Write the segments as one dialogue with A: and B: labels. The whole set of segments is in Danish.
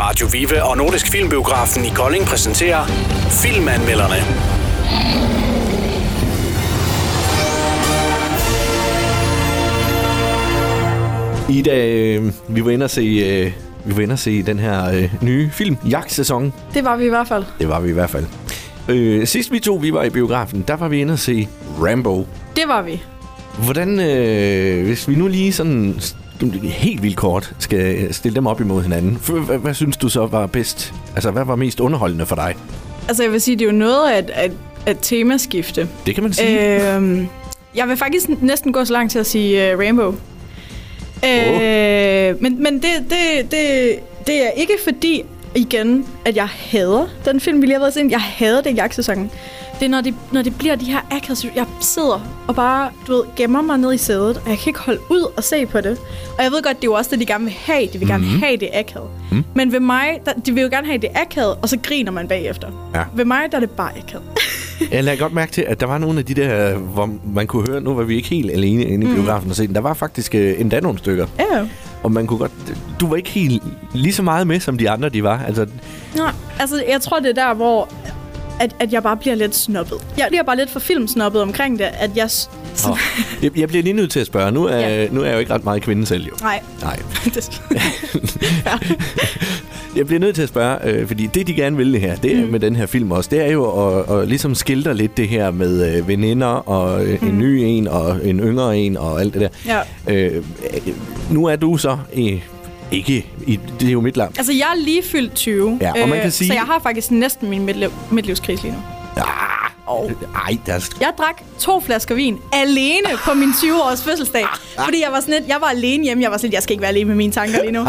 A: Radio Vive og Nordisk Filmbiografen i Kolding præsenterer Filmanmelderne.
B: I dag, øh, vi var inde og se, øh, vi var inde og se den her øh, nye film, Jagtsæson.
C: Det var vi i hvert fald.
B: Det var vi i hvert fald. Øh, sidst vi to, vi var i biografen, der var vi inde og se Rambo.
C: Det var vi.
B: Hvordan, øh, hvis vi nu lige sådan s- helt vildt kort skal stille dem op imod hinanden, f- hvad, hvad synes du så var bedst? Altså, hvad var mest underholdende for dig?
C: Altså jeg vil sige, det er jo noget at, at, at temaskifte.
B: Det kan man sige. Øh,
C: Øhm, jeg vil faktisk næsten gå så langt til at sige uh, Rainbow. Øh, men men det, det, det, det er ikke fordi, igen, at jeg hader den film, vi lige har været set. Jeg hader den jagtsæsonen. Det er, når det, når det bliver de her akavet... Jeg sidder og bare, du ved, gemmer mig ned i sædet, og jeg kan ikke holde ud og se på det. Og jeg ved godt, det er jo også det, de gerne vil have. De vil gerne mm-hmm. have det akavet. Mm. Men ved mig, der, de vil jo gerne have det akavet, og så griner man bagefter.
B: Ja.
C: Ved mig, der er det bare akavet.
B: jeg lagde godt mærke til, at der var nogle af de der, hvor man kunne høre, nu var vi ikke helt alene inde i biografen og se den. Der var faktisk øh, endda nogle stykker.
C: ja.
B: Og man kunne godt... Du var ikke helt lige så meget med, som de andre, de var. Altså,
C: Nej, altså jeg tror, det er der, hvor at, at jeg bare bliver lidt snobbet. Jeg bliver bare lidt for filmsnobbet omkring det, at jeg... s-
B: åh, jeg, jeg bliver lige nødt til at spørge. Nu er, ja.
C: Ja.
B: nu er jeg jo ikke ret meget kvinde selv, jo.
C: Nej.
B: Nej.
C: Det-
B: Jeg bliver nødt til at spørge, øh, fordi det, de gerne vil det her, det er mm. med den her film også, det er jo at, at ligesom skildre lidt det her med øh, veninder og øh, mm. en ny en og en yngre en og alt det der.
C: ja.
B: Øh, øh, nu er du så øh, ikke... I, det er jo mit larm.
C: Altså, jeg er lige fyldt 20.
B: Ja, og man kan sige-
C: Så jeg har faktisk næsten min midtliv, midtlivskris lige nu.
B: Oh. Ej, der er...
C: Jeg drak to flasker vin alene på min 20-års fødselsdag.
B: Ah.
C: Fordi jeg var sådan lidt, jeg var alene hjemme. Jeg var sådan lidt, jeg skal ikke være alene med mine tanker lige
B: Ah,
C: nu.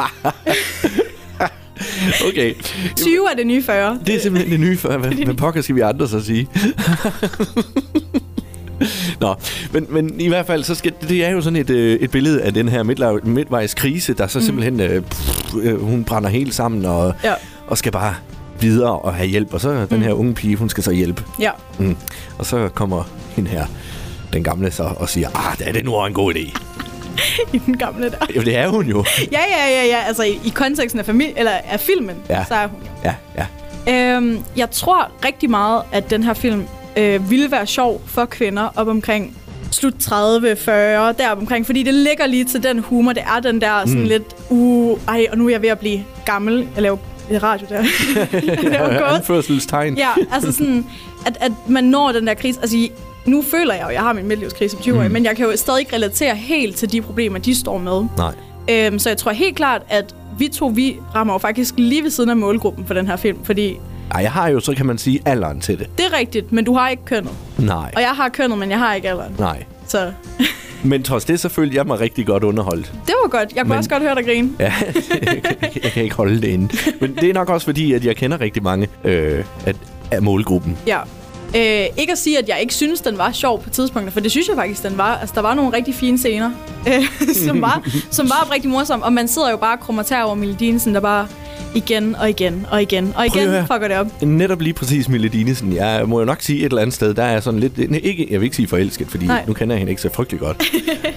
B: Okay.
C: 20 er det nye 40.
B: Det er simpelthen det nye for, hvad, hvad pokker skal vi andre så sige? Nå, men, men i hvert fald, så skal, det er jo sådan et, øh, et billede af den her midtla- midtvejskrise, der så simpelthen, øh, pff, øh, hun brænder helt sammen og, ja.
C: Mm. Ja.
B: og skal bare videre og have hjælp. Og så mm. den her unge pige, hun skal så hjælpe.
C: Ja.
B: Mm. Og så kommer hende her, den gamle, så og siger, ah, det er det nu også en god idé.
C: I den gamle der.
B: Jo, det er hun jo.
C: Ja, ja, ja, ja. Altså, i, i konteksten af, familie, eller af filmen,
B: Ja.
C: ja. så er hun jo.
B: Ja, ja.
C: Øhm, jeg tror rigtig meget, at den her film øh, ville være sjov for kvinder op omkring slut 30, 40, derop omkring. Fordi det ligger lige til den humor, det er den der sådan mm. lidt, uh, ej, og nu er jeg ved at blive gammel. Jeg laver øh, radio der. jeg laver gås.
B: Anførselstegn.
C: Ja, altså sådan, at, at man når den der krise. Altså, nu føler jeg jo, at jeg har min midtlivskrise som 20 mm. men jeg kan jo stadig ikke relatere helt til de problemer, de står med.
B: Nej.
C: Øhm, så jeg tror helt klart, at vi to, vi rammer jo faktisk lige ved siden af målgruppen for den her film, fordi
B: Ej, jeg har jo, så kan man sige, alderen til det.
C: det er rigtigt, men du har ikke kønnet.
B: Nej.
C: Og jeg har kønnet, men jeg har ikke alderen.
B: Nej.
C: Så
B: Men trods det, så følte jeg mig rigtig godt underholdt.
C: det var godt. Jeg kunne
B: Men-
C: men... også godt høre dig grine.
B: Ja, jeg kan ikke holde det inde. Men det er nok også fordi, at jeg kender rigtig mange øh, af, af målgruppen.
C: Ja. Øh, ikke at sige, at jeg ikke synes, den var sjov på tidspunkter, for det synes jeg faktisk, den var. Altså, der var nogle rigtig fine scener, øh, som, var, som var rigtig morsomme. Og man sidder jo bare og krummer tær over melodien, sådan der bare igen og igen og igen og
B: Prøv at høre.
C: igen fucker det op.
B: Netop lige præcis Mille Dinesen. Jeg må jo nok sige et eller andet sted, der er sådan lidt... nej, Ikke, jeg vil ikke sige forelsket, fordi Nej.
C: Nej.
B: nu kender jeg hende ikke så frygtelig godt.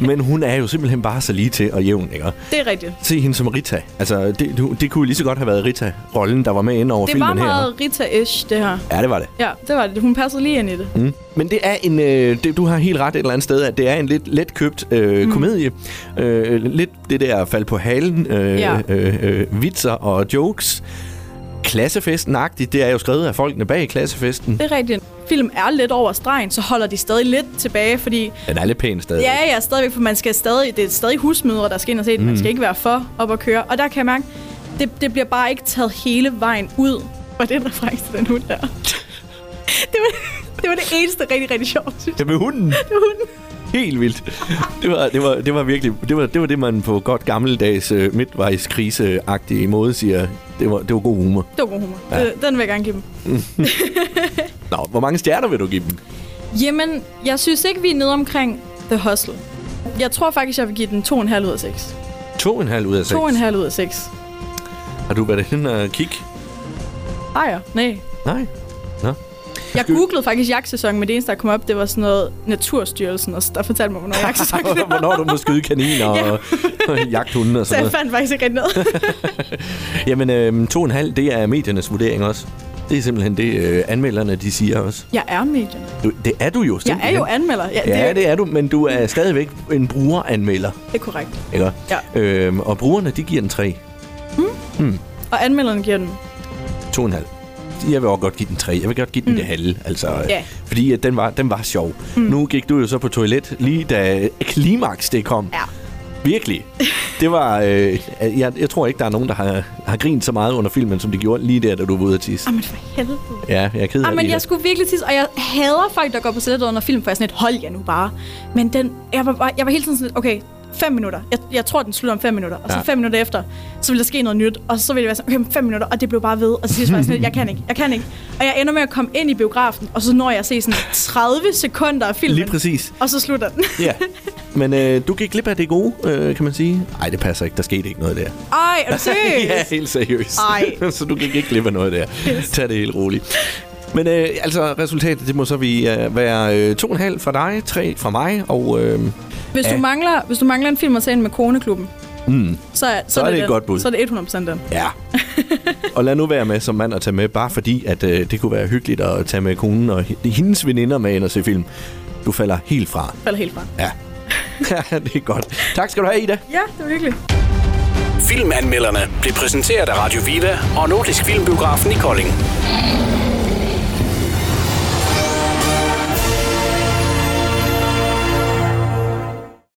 B: Men hun er jo simpelthen bare så lige til og jævn, ikke?
C: Det er rigtigt.
B: Se hende som Rita. Altså, det, du- det kunne lige så godt have været Rita-rollen, der var med ind over
C: Det var
B: filmen her.
C: meget Rita-ish, det her.
B: Ja, det var det.
C: Ja, det var det. Hun passede lige ind i det.
B: Mm. Men det er en, øh, det, du har helt ret et eller andet sted, at det er en lidt letkøbt øh, mm. komedie. Øh, lidt det der fald på halen, øh, ja.
C: Ja.
B: øh, øh, vitser og jokes. Klassefesten-agtigt, det er jo skrevet af folkene bag klassefesten.
C: Det er rigtigt. Film er lidt over stregen, så holder de stadig lidt tilbage, fordi
B: Den er lidt pæn stadig.
C: Ja, ja, stadigvæk, for man skal stadig, det er stadig husmødre, der skal ind og se det. Man skal ikke være for op at køre. Og der kan jeg mærke, det, det bliver bare ikke taget hele vejen ud. Og det er en reference til den hund der. det, var, det var det eneste rigtig, rigtig sjovt, synes jeg.
B: Det med hunden.
C: Det var hunden.
B: Helt vildt. Det var, det var, det var virkelig, det var, det var det, man på godt gammeldags øh, midtvejskriseagtige måde siger. Det var, det var god humor.
C: Det var god humor.
B: Ja.
C: Ja. Det, den vil jeg gerne give dem.
B: Nå, hvor mange stjerner vil du give dem?
C: Jamen, jeg synes ikke, vi er nede omkring The Hustle. Jeg tror faktisk, jeg vil give den 2,5 ud af 6.
B: To en halv ud af seks.
C: 2,5 ud af 6.
B: Har du været inde og kigge?
C: Ejer? Nej.
B: Nej. Nå.
C: Jeg googlede faktisk jagtsæson, men det eneste, der kom op, det var sådan noget Naturstyrelsen, og der fortalte mig, hvornår jagtsæson er.
B: Hvornår du må skyde kaniner og, og jagthunde og
C: Så
B: sådan
C: jeg
B: noget.
C: fandt faktisk ikke rigtig noget.
B: Jamen, øh, to og en halv, det er mediernes vurdering også. Det er simpelthen det, øh, anmelderne de siger også.
C: Jeg er medierne.
B: Du, det er du jo
C: Jeg
B: simpelthen.
C: er jo anmelder. Ja, det,
B: Ja, det er du, men du er stadigvæk en brugeranmelder,
C: det er korrekt.
B: ikke?
C: Ja.
B: Øhm, og brugerne, de giver den 3.
C: Og anmelderen giver den.
B: 2,5. Jeg vil også godt give den 3. Jeg vil godt give den mm. det halve, altså.
C: Ja.
B: Fordi at den var, den var sjov. Mm. Nu gik du jo så på toilet, lige da klimaks det kom.
C: Ja.
B: Virkelig. Det var... Øh, jeg, jeg tror ikke, der er nogen, der har, har grint så meget under filmen, som de gjorde lige der, da du var ude at tisse.
C: Jamen for helvede.
B: Ja, jeg er ked af
C: Jamen,
B: det.
C: jeg skulle virkelig tisse, og jeg hader folk, der går på sættet under film, for jeg er sådan et, hold jer nu bare. Men den, jeg var, bare- jeg var hele tiden sådan lidt, okay, fem minutter. Jeg, jeg tror, den slutter om fem minutter. Og så
B: Ja.
C: ja. fem minutter efter, så ville der ske noget nyt. Og så ville jeg være sådan, okay, men fem minutter. Og det blev bare ved. Og så siger jeg sådan lidt, jeg kan ikke, jeg kan ikke. Og jeg ender med at komme ind i biografen, og så når jeg at se sådan 30 sekunder af filmen.
B: Lige præcis.
C: Og så slutter den.
B: Ja. Men øh, du gik glip af det gode, øh, kan man sige. Nej, det passer ikke. Der skete ikke noget der.
C: Ej, er du seriøs?
B: ja, helt seriøst.
C: Ej.
B: så du gik ikke glip af noget der. Tag det helt roligt. Men øh, altså, resultatet, det må så vi, øh, være øh, to og en halv fra dig, tre fra mig, og øh,
C: Hvis,
B: Ja.
C: du mangler, hvis du mangler en film at tage ind med Koneklubben,
B: Mm.
C: så, er, så,
B: er det et
C: den.
B: godt bud.
C: Så er det 100% den.
B: ja. og lad nu være med som mand at tage med, bare fordi, at øh, det kunne være hyggeligt at tage med konen og h- hendes veninder med ind og se film. Du falder helt fra.
C: Falder helt fra.
B: Ja. Ja, det er godt. Tak skal du have, Ida.
C: Ja, det var hyggeligt.
A: Filmanmelderne blev præsenteret af Radio Viva og Nordisk Filmbiografen i Kolding.